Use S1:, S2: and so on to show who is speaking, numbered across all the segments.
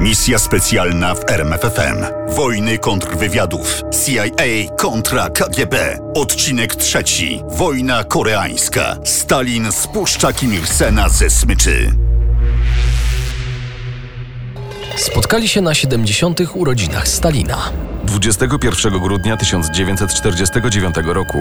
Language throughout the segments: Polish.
S1: Misja specjalna w RMFFM. Wojny kontrwywiadów. CIA kontra KGB. Odcinek trzeci. Wojna koreańska. Stalin spuszcza Kim Il-sena ze smyczy.
S2: Spotkali się na 70. urodzinach Stalina.
S3: 21 grudnia 1949 roku.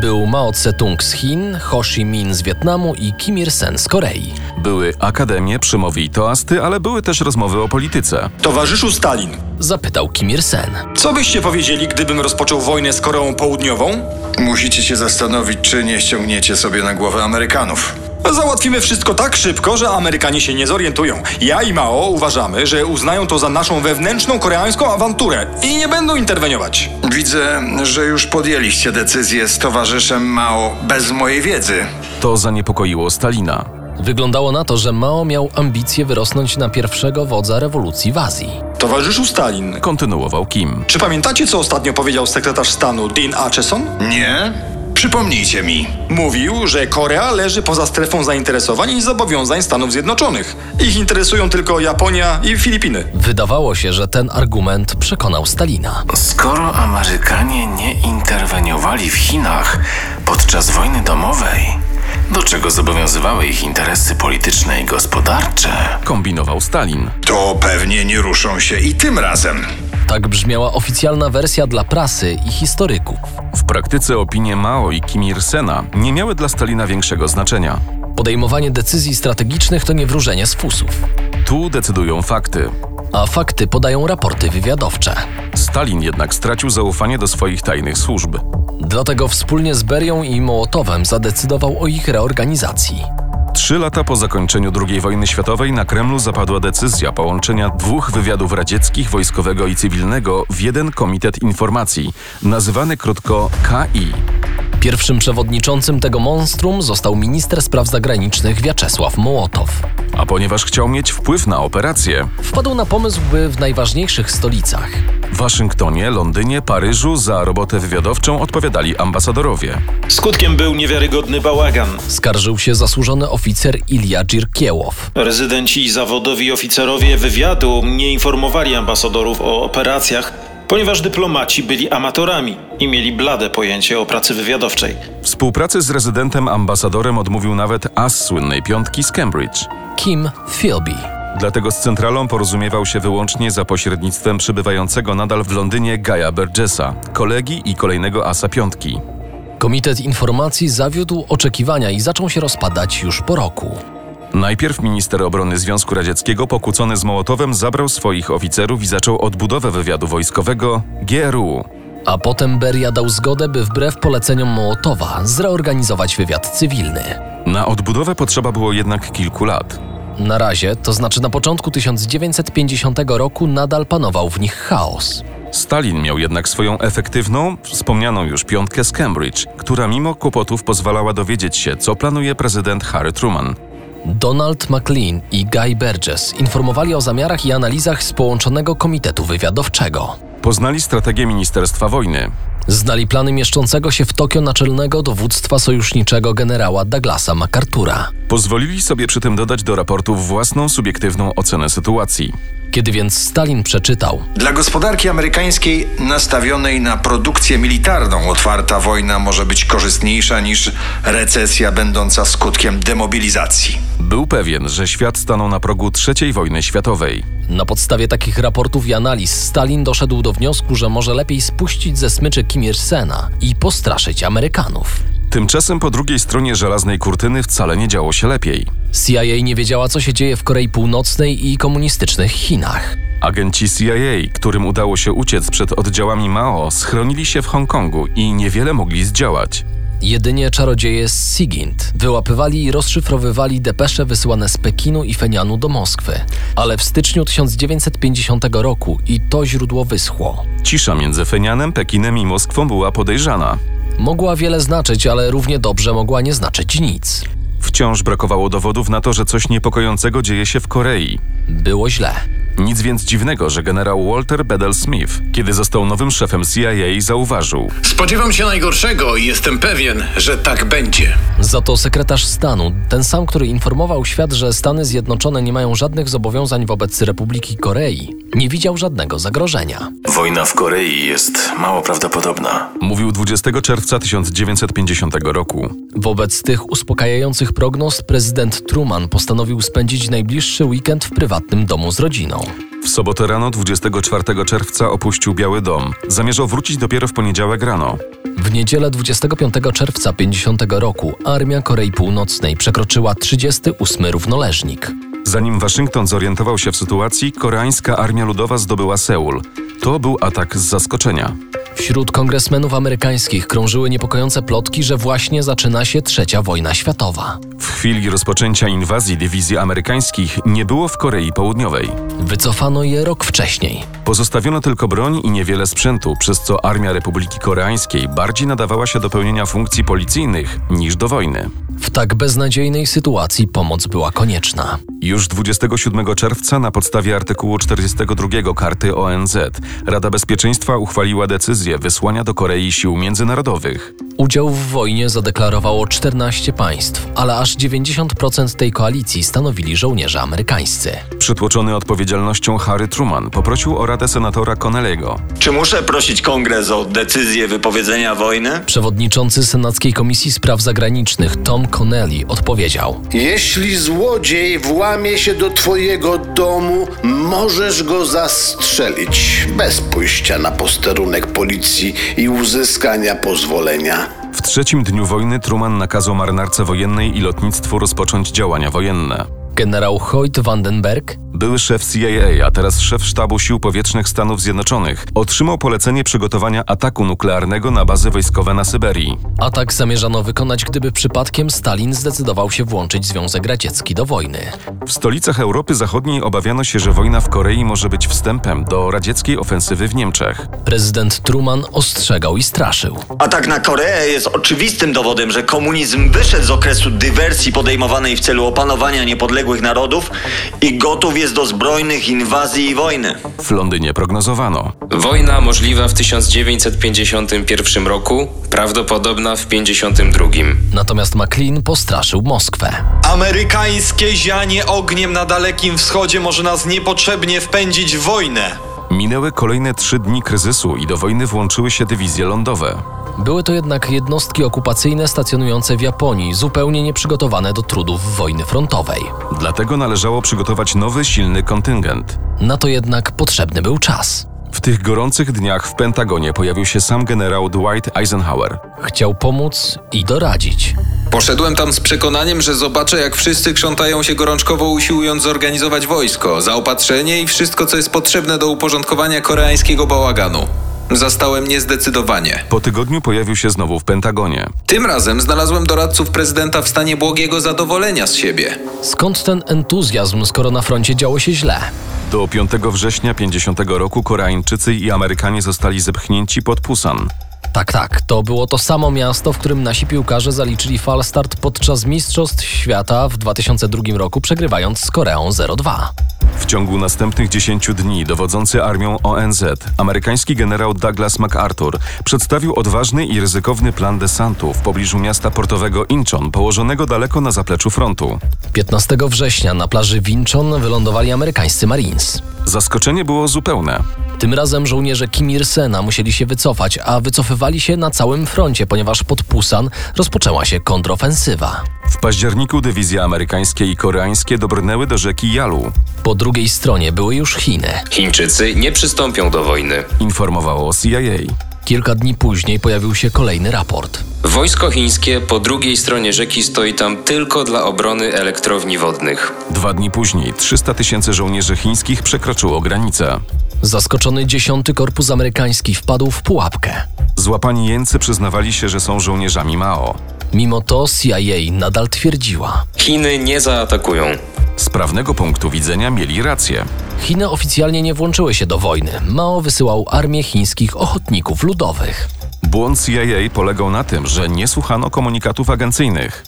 S2: Był Mao Tse-tung z Chin, Ho Chi Minh z Wietnamu i Kim Il-sen z Korei.
S3: Były akademie, przemowy i toasty, ale były też rozmowy o polityce.
S4: Towarzyszu Stalin,
S2: Zapytał Kim Il-sen.
S4: co byście powiedzieli, gdybym rozpoczął wojnę z Koreą Południową?
S5: Musicie się zastanowić, czy nie ściągniecie sobie na głowę Amerykanów.
S4: Załatwimy wszystko tak szybko, że Amerykanie się nie zorientują. Ja i Mao uważamy, że uznają to za naszą wewnętrzną koreańską awanturę i nie będą interweniować.
S5: Widzę, że już podjęliście decyzję z towarzyszem Mao bez mojej wiedzy.
S3: To zaniepokoiło Stalina.
S2: Wyglądało na to, że Mao miał ambicje wyrosnąć na pierwszego wodza rewolucji w Azji.
S4: Towarzyszu Stalin,
S3: Kontynuował Kim.
S4: czy pamiętacie, co ostatnio powiedział sekretarz stanu Dean Acheson?
S5: Nie? Przypomnijcie mi.
S4: Mówił, że Korea leży poza strefą zainteresowań i zobowiązań Stanów Zjednoczonych. Ich interesują tylko Japonia i Filipiny.
S2: Wydawało się, że ten argument przekonał Stalina.
S6: Skoro Amerykanie nie interweniowali w Chinach podczas wojny domowej, do czego zobowiązywały ich interesy polityczne i gospodarcze,
S3: Kombinował Stalin.
S5: To pewnie nie ruszą się i tym razem.
S2: Tak brzmiała oficjalna wersja dla prasy i historyków.
S3: W praktyce opinie Mao i Kim Il-sena nie miały dla Stalina większego znaczenia.
S2: Podejmowanie decyzji strategicznych to nie wróżenie z fusów,
S3: Tu decydują fakty.
S2: a fakty podają raporty wywiadowcze.
S3: Stalin jednak stracił zaufanie do swoich tajnych służb.
S2: Dlatego wspólnie z Berią i Mołotowem zadecydował o ich reorganizacji.
S3: Trzy lata po zakończeniu II wojny światowej na Kremlu zapadła decyzja połączenia dwóch wywiadów radzieckich, wojskowego i cywilnego w jeden komitet informacji, nazywany krótko KI.
S2: Pierwszym przewodniczącym tego monstrum został minister spraw zagranicznych Wiaczesław Mołotow.
S3: A ponieważ chciał mieć wpływ na operację,
S2: Wpadł na pomysł, by w najważniejszych stolicach
S3: w Waszyngtonie, Londynie, Paryżu za robotę wywiadowczą odpowiadali ambasadorowie.
S7: Skutkiem był niewiarygodny bałagan.
S2: skarżył się zasłużony oficer Ilja Dżirkiełow.
S7: Rezydenci i zawodowi oficerowie wywiadu nie informowali ambasadorów o operacjach, ponieważ dyplomaci byli amatorami i mieli blade pojęcie o pracy wywiadowczej.
S3: Współpracy z rezydentem ambasadorem odmówił nawet as słynnej piątki z Cambridge.
S2: Kim Philby.
S3: Dlatego z centralą porozumiewał się wyłącznie za pośrednictwem przybywającego nadal w Londynie Gaja Burgessa, kolegi i kolejnego asa piątki.
S2: Komitet Informacji zawiódł oczekiwania i zaczął się rozpadać już po roku.
S3: Najpierw minister obrony Związku Radzieckiego pokłócony z Mołotowem zabrał swoich oficerów i zaczął odbudowę wywiadu wojskowego GRU.
S2: A potem Beria dał zgodę, by wbrew poleceniom Mołotowa zreorganizować wywiad cywilny.
S3: Na odbudowę potrzeba było jednak kilku lat.
S2: Na razie, to znaczy na początku 1950 roku, nadal panował w nich chaos.
S3: Stalin miał jednak swoją efektywną, wspomnianą już piątkę z Cambridge, która mimo kłopotów pozwalała dowiedzieć się, co planuje prezydent Harry Truman.
S2: Donald McLean i Guy Burgess informowali o zamiarach i analizach z połączonego komitetu wywiadowczego.
S3: Poznali strategię Ministerstwa Wojny.
S2: Znali plany mieszczącego się w Tokio naczelnego dowództwa sojuszniczego generała Douglasa MacArthura.
S3: Pozwolili sobie przy tym dodać do raportów własną subiektywną ocenę sytuacji.
S2: Kiedy więc Stalin przeczytał,
S5: Dla gospodarki amerykańskiej nastawionej na produkcję militarną otwarta wojna może być korzystniejsza niż recesja będąca skutkiem demobilizacji.
S3: Był pewien, że świat stanął na progu III wojny światowej.
S2: na podstawie takich raportów i analiz, Stalin doszedł do wniosku, że może lepiej spuścić ze smyczy Kim Il-sena i postraszyć Amerykanów.
S3: Tymczasem po drugiej stronie żelaznej kurtyny wcale nie działo się lepiej.
S2: CIA nie wiedziała, co się dzieje w Korei Północnej i komunistycznych Chinach.
S3: Agenci CIA, którym udało się uciec przed oddziałami Mao, schronili się w Hongkongu i niewiele mogli zdziałać.
S2: Jedynie czarodzieje z Sigint wyłapywali i rozszyfrowywali depesze wysyłane z Pekinu i Fenianu do Moskwy, ale w styczniu 1950 roku i to źródło wyschło.
S3: Cisza między Fenianem, Pekinem i Moskwą była podejrzana.
S2: Mogła wiele znaczyć, ale równie dobrze mogła nie znaczyć nic.
S3: Wciąż brakowało dowodów na to, że coś niepokojącego dzieje się w Korei.
S2: Było źle.
S3: Nic więc dziwnego, że generał Walter Bedell Smith, kiedy został nowym szefem CIA, zauważył.
S8: Spodziewam się najgorszego i jestem pewien, że tak będzie.
S2: Za to sekretarz stanu, ten sam, który informował świat, że Stany Zjednoczone nie mają żadnych zobowiązań wobec Republiki Korei, nie widział żadnego zagrożenia.
S6: Wojna w Korei jest mało prawdopodobna.
S3: Mówił 20 czerwca 1950 roku.
S2: Wobec tych uspokajających prognoz prezydent Truman postanowił spędzić najbliższy weekend w prywatnym domu z rodziną.
S3: W sobotę rano 24 czerwca opuścił Biały Dom. Zamierzał wrócić dopiero w poniedziałek rano.
S2: W niedzielę 25 czerwca 50 roku armia Korei Północnej przekroczyła 38 równoleżnik.
S3: Zanim Waszyngton zorientował się w sytuacji, koreańska armia ludowa zdobyła Seul. To był atak z zaskoczenia.
S2: Wśród kongresmenów amerykańskich krążyły niepokojące plotki, że właśnie zaczyna się trzecia wojna światowa.
S3: W chwili rozpoczęcia inwazji dywizji amerykańskich nie było w Korei Południowej.
S2: Wycofano je rok wcześniej.
S3: Pozostawiono tylko broń i niewiele sprzętu, przez co Armia Republiki Koreańskiej bardziej nadawała się do pełnienia funkcji policyjnych niż do wojny.
S2: W tak beznadziejnej sytuacji pomoc była konieczna.
S3: Już 27 czerwca na podstawie artykułu 42 karty ONZ Rada Bezpieczeństwa uchwaliła decyzję wysłania do Korei sił międzynarodowych.
S2: Udział w wojnie zadeklarowało 14 państw, ale aż 90% tej koalicji stanowili żołnierze amerykańscy.
S3: Przytłoczony odpowiedzialnością Harry Truman poprosił o radę senatora Connelly'ego.
S9: Czy muszę prosić kongres o decyzję wypowiedzenia wojny?
S2: Przewodniczący Senackiej Komisji Spraw Zagranicznych Tom Connelly odpowiedział:
S10: Jeśli złodziej włamie się do twojego domu, możesz go zastrzelić bez pójścia na posterunek policji i uzyskania pozwolenia.
S3: W trzecim dniu wojny Truman nakazał marynarce wojennej i lotnictwu rozpocząć działania wojenne.
S2: Generał Hoyt Vandenberg
S3: Były szef CIA, a teraz szef sztabu sił powietrznych Stanów Zjednoczonych, otrzymał polecenie przygotowania ataku nuklearnego na bazy wojskowe na Syberii.
S2: Atak tak zamierzano wykonać, gdyby przypadkiem Stalin zdecydował się włączyć Związek Radziecki do wojny.
S3: W stolicach Europy Zachodniej obawiano się, że wojna w Korei może być wstępem do radzieckiej ofensywy w Niemczech.
S2: Prezydent Truman ostrzegał i straszył.
S9: Atak tak na Koreę jest oczywistym dowodem, że komunizm wyszedł z okresu dywersji podejmowanej w celu opanowania niepodległych narodów i gotów jest do zbrojnych inwazji i wojny.
S3: W Londynie prognozowano.
S11: Wojna możliwa w 1951 roku, prawdopodobna w 1952.
S2: Natomiast McLean postraszył Moskwę.
S4: Amerykańskie zianie ogniem na Dalekim Wschodzie może nas niepotrzebnie wpędzić w wojnę.
S3: Minęły kolejne trzy dni kryzysu i do wojny włączyły się dywizje lądowe.
S2: Były to jednak jednostki okupacyjne stacjonujące w Japonii, zupełnie nieprzygotowane do trudów wojny frontowej.
S3: Dlatego należało przygotować nowy, silny kontyngent.
S2: Na to jednak potrzebny był czas.
S3: W tych gorących dniach w Pentagonie pojawił się sam generał Dwight Eisenhower.
S2: Chciał pomóc i doradzić.
S12: Poszedłem tam z przekonaniem, że zobaczę, jak wszyscy krzątają się gorączkowo, usiłując zorganizować wojsko, zaopatrzenie i wszystko, co jest potrzebne do uporządkowania koreańskiego bałaganu. Zastałem niezdecydowanie.
S3: Po tygodniu pojawił się znowu w Pentagonie.
S12: Tym razem znalazłem doradców prezydenta w stanie błogiego zadowolenia z siebie.
S2: Skąd ten entuzjazm, skoro na froncie działo się źle?
S3: Do 5 września 50 roku Koreańczycy i Amerykanie zostali zepchnięci pod Pusan.
S2: Tak, tak, to było to samo miasto, w którym nasi piłkarze zaliczyli falstart podczas Mistrzostw Świata w 2002 roku, przegrywając z Koreą 0-2.
S3: W ciągu następnych 10 dni dowodzący armią ONZ amerykański generał Douglas MacArthur przedstawił odważny i ryzykowny plan desantu w pobliżu miasta portowego Incheon, położonego daleko na zapleczu frontu.
S2: 15 września na plaży Winchon wylądowali amerykańscy Marines.
S3: Zaskoczenie było zupełne.
S2: Tym razem żołnierze Kim Il-sena musieli się wycofać, a wycofywali się na całym froncie, ponieważ pod Pusan rozpoczęła się kontrofensywa.
S3: W październiku dywizje amerykańskie i koreańskie dobrnęły do rzeki Yalu.
S2: Po drugiej stronie były już Chiny.
S11: Chińczycy nie przystąpią do wojny.
S3: Informowało CIA.
S2: Kilka dni później pojawił się kolejny raport.
S11: Wojsko chińskie po drugiej stronie rzeki stoi tam tylko dla obrony elektrowni wodnych.
S3: Dwa dni później 300 tysięcy żołnierzy chińskich przekroczyło granicę.
S2: Zaskoczony 10 Korpus Amerykański wpadł w pułapkę.
S3: Złapani jeńcy przyznawali się, że są żołnierzami Mao.
S2: Mimo to CIA nadal twierdziła.
S11: Chiny nie zaatakują.
S3: Z prawnego punktu widzenia mieli rację.
S2: Chiny oficjalnie nie włączyły się do wojny. Mao wysyłał armię chińskich ochotników ludowych.
S3: Błąd CIA polegał na tym, że nie słuchano komunikatów agencyjnych.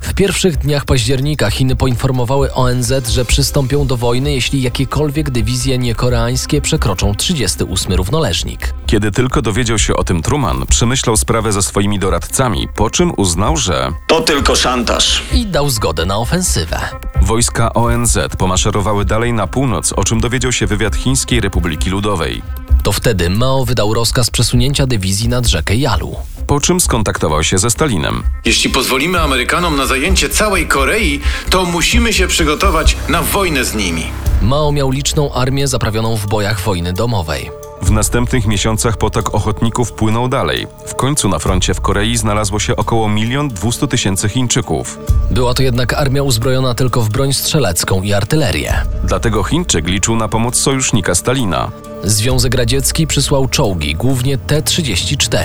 S2: W pierwszych dniach października Chiny poinformowały ONZ, że przystąpią do wojny, jeśli jakiekolwiek dywizje niekoreańskie przekroczą 38 równoleżnik.
S3: Kiedy tylko dowiedział się o tym Truman, przemyślał sprawę ze swoimi doradcami, po czym uznał, że
S9: To tylko szantaż.
S2: I dał zgodę na ofensywę.
S3: wojska ONZ pomaszerowały dalej na północ, o czym dowiedział się wywiad Chińskiej Republiki Ludowej.
S2: To wtedy Mao wydał rozkaz przesunięcia dywizji nad rzekę Jalu.
S3: Po czym skontaktował się ze Stalinem.
S8: Jeśli pozwolimy Amerykanom na zajęcie całej Korei, to musimy się przygotować na wojnę z nimi.
S2: Mao miał liczną armię zaprawioną w bojach wojny domowej.
S3: W następnych miesiącach potok ochotników płynął dalej. W końcu na froncie w Korei znalazło się około 1 200 tysięcy Chińczyków.
S2: Była to jednak armia uzbrojona tylko w broń strzelecką i artylerię.
S3: Dlatego Chińczyk liczył na pomoc sojusznika Stalina,
S2: Związek Radziecki przysłał czołgi, głównie T-34.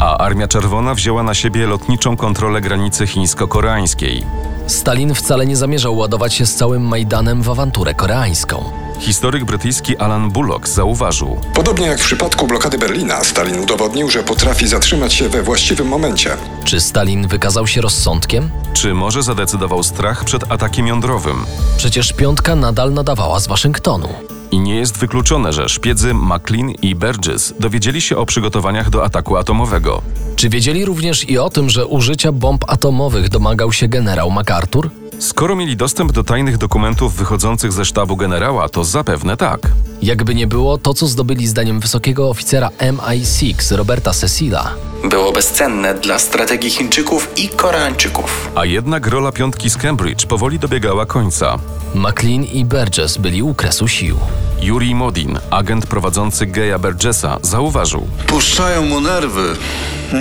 S3: a Armia Czerwona wzięła na siebie lotniczą kontrolę granicy chińsko-koreańskiej.
S2: Stalin wcale nie zamierzał ładować się z całym Majdanem w awanturę koreańską.
S3: Historyk brytyjski Alan Bullock zauważył,
S13: Podobnie jak w przypadku blokady Berlina, Stalin udowodnił, że potrafi zatrzymać się we właściwym momencie.
S2: Czy Stalin wykazał się rozsądkiem?
S3: czy może zadecydował strach przed atakiem jądrowym.
S2: Przecież piątka nadal nadawała z Waszyngtonu.
S3: I nie jest wykluczone, że szpiedzy McLean i Burgess dowiedzieli się o przygotowaniach do ataku atomowego.
S2: Czy wiedzieli również i o tym, że użycia bomb atomowych domagał się generał MacArthur?
S3: Skoro mieli dostęp do tajnych dokumentów wychodzących ze sztabu generała, to zapewne tak.
S2: Jakby nie było, to co zdobyli zdaniem wysokiego oficera MI6 Roberta Cecila,
S6: Było bezcenne dla strategii Chińczyków i Koreańczyków.
S3: A jednak rola piątki z Cambridge powoli dobiegała końca.
S2: McLean i Burgess byli u kresu sił.
S3: Yuri Modin, agent prowadzący Geja Burgessa, zauważył.
S14: Puszczają mu nerwy.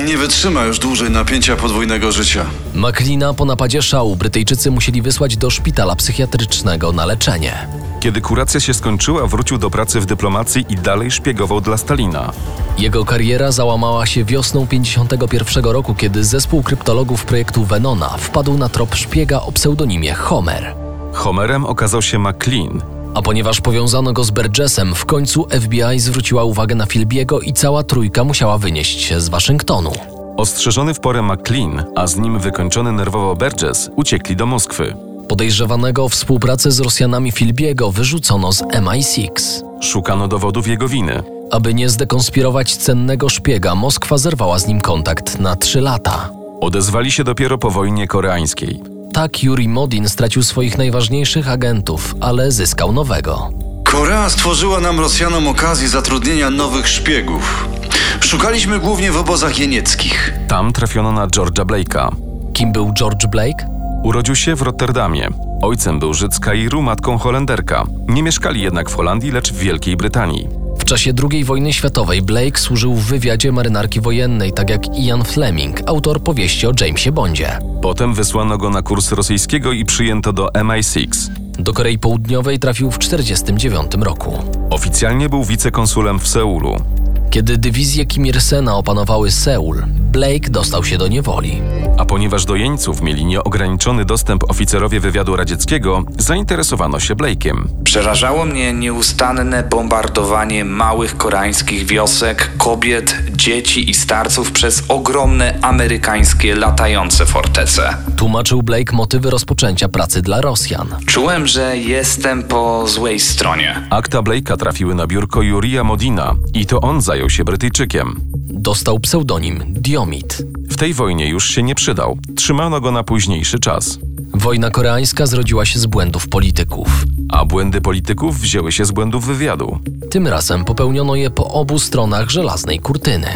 S14: Nie wytrzyma już dłużej napięcia podwójnego życia.
S2: McLeana po napadzie szału Brytyjczycy musieli wysłać do szpitala psychiatrycznego na leczenie.
S3: Kiedy kuracja się skończyła, wrócił do pracy w dyplomacji i dalej szpiegował dla Stalina.
S2: Jego kariera załamała się wiosną 51 roku, kiedy zespół kryptologów projektu Venona wpadł na trop szpiega o pseudonimie Homer.
S3: Homerem okazał się McLean.
S2: A ponieważ powiązano go z Burgessem, w końcu FBI zwróciła uwagę na Filbiego i cała trójka musiała wynieść się z Waszyngtonu.
S3: Ostrzeżony w porę McLean, a z nim wykończony nerwowo Burgess, uciekli do Moskwy.
S2: Podejrzewanego o współpracę z Rosjanami Filbiego wyrzucono z MI6.
S3: Szukano dowodów jego winy.
S2: Aby nie zdekonspirować cennego szpiega, Moskwa zerwała z nim kontakt na trzy lata.
S3: Odezwali się dopiero po wojnie koreańskiej.
S2: Tak Yuri Modin stracił swoich najważniejszych agentów, ale zyskał nowego.
S14: Korea stworzyła nam Rosjanom okazję zatrudnienia nowych szpiegów. Szukaliśmy głównie w obozach jenieckich.
S3: Tam trafiono na George'a Blake'a.
S2: Kim był George Blake?
S3: Urodził się w Rotterdamie. Ojcem był Żyd z Kairu, matką Holenderka. Nie mieszkali jednak w Holandii, lecz w Wielkiej Brytanii.
S2: W czasie II wojny światowej Blake służył w wywiadzie marynarki wojennej, tak jak Ian Fleming, autor powieści o Jamesie Bondzie.
S3: Potem wysłano go na kurs rosyjskiego i przyjęto do MI6.
S2: Do Korei Południowej trafił w 1949 roku.
S3: Oficjalnie był wicekonsulem w Seulu.
S2: Kiedy dywizje Kim Il-sena opanowały Seul, Blake dostał się do niewoli.
S3: A ponieważ do jeńców mieli nieograniczony dostęp oficerowie wywiadu radzieckiego, zainteresowano się Blake'iem.
S15: Przerażało mnie nieustanne bombardowanie małych koreańskich wiosek, kobiet, dzieci i starców przez ogromne amerykańskie latające fortece.
S2: Tłumaczył Blake motywy rozpoczęcia pracy dla Rosjan.
S15: Czułem, że jestem po złej stronie.
S3: Akta Blake'a trafiły na biurko Jurija Modina i to on zajął się Brytyjczykiem.
S2: Dostał pseudonim Diomit.
S3: W tej wojnie już się nie przydał. Trzymano go na późniejszy czas.
S2: Wojna koreańska zrodziła się z błędów polityków.
S3: A błędy polityków wzięły się z błędów wywiadu.
S2: Tym razem popełniono je po obu stronach żelaznej kurtyny.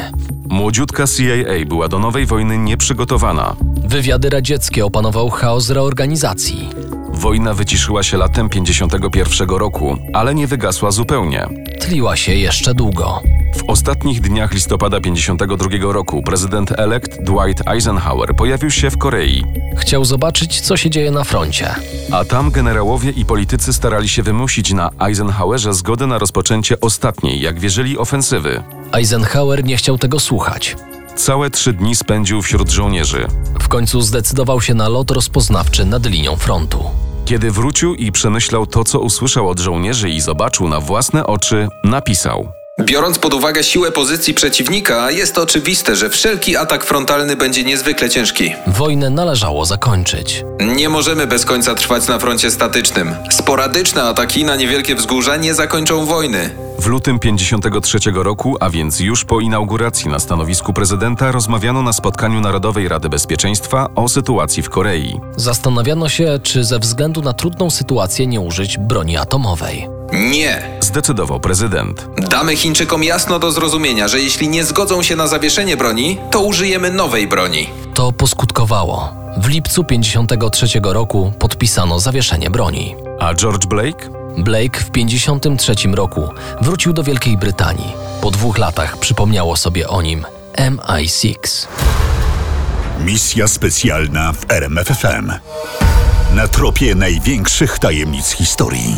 S3: Młodziutka CIA była do nowej wojny nieprzygotowana.
S2: Wywiady radzieckie opanował chaos reorganizacji.
S3: Wojna wyciszyła się latem 51 roku, ale nie wygasła zupełnie.
S2: Tliła się jeszcze długo.
S3: W ostatnich dniach listopada 52 roku prezydent-elekt Dwight Eisenhower pojawił się w Korei,
S2: Chciał zobaczyć, co się dzieje na froncie.
S3: a tam generałowie i politycy starali się wymusić na Eisenhowerze zgodę na rozpoczęcie ostatniej, jak wierzyli, ofensywy.
S2: Eisenhower nie chciał tego słuchać.
S3: Całe trzy dni spędził wśród żołnierzy.
S2: W końcu zdecydował się na lot rozpoznawczy nad linią frontu.
S3: Kiedy wrócił i przemyślał to, co usłyszał od żołnierzy i zobaczył na własne oczy, napisał:
S12: Biorąc pod uwagę siłę pozycji przeciwnika, jest to oczywiste, że wszelki atak frontalny będzie niezwykle ciężki.
S2: Wojnę należało zakończyć.
S12: Nie możemy bez końca trwać na froncie statycznym. Sporadyczne ataki na niewielkie wzgórza nie zakończą wojny.
S3: W lutym 53 roku, a więc już po inauguracji na stanowisku prezydenta, rozmawiano na spotkaniu Narodowej Rady Bezpieczeństwa o sytuacji w Korei.
S2: Zastanawiano się, czy ze względu na trudną sytuację nie użyć broni atomowej.
S12: Nie!
S3: Zdecydował prezydent.
S12: Damy Chińczykom jasno do zrozumienia, że jeśli nie zgodzą się na zawieszenie broni, to użyjemy nowej broni.
S2: To poskutkowało. W lipcu 53 roku podpisano zawieszenie broni.
S3: A George Blake?
S2: Blake w 53 roku wrócił do Wielkiej Brytanii. Po dwóch latach przypomniało sobie o nim MI6.
S1: Misja specjalna w RMFFM. Na tropie największych tajemnic historii.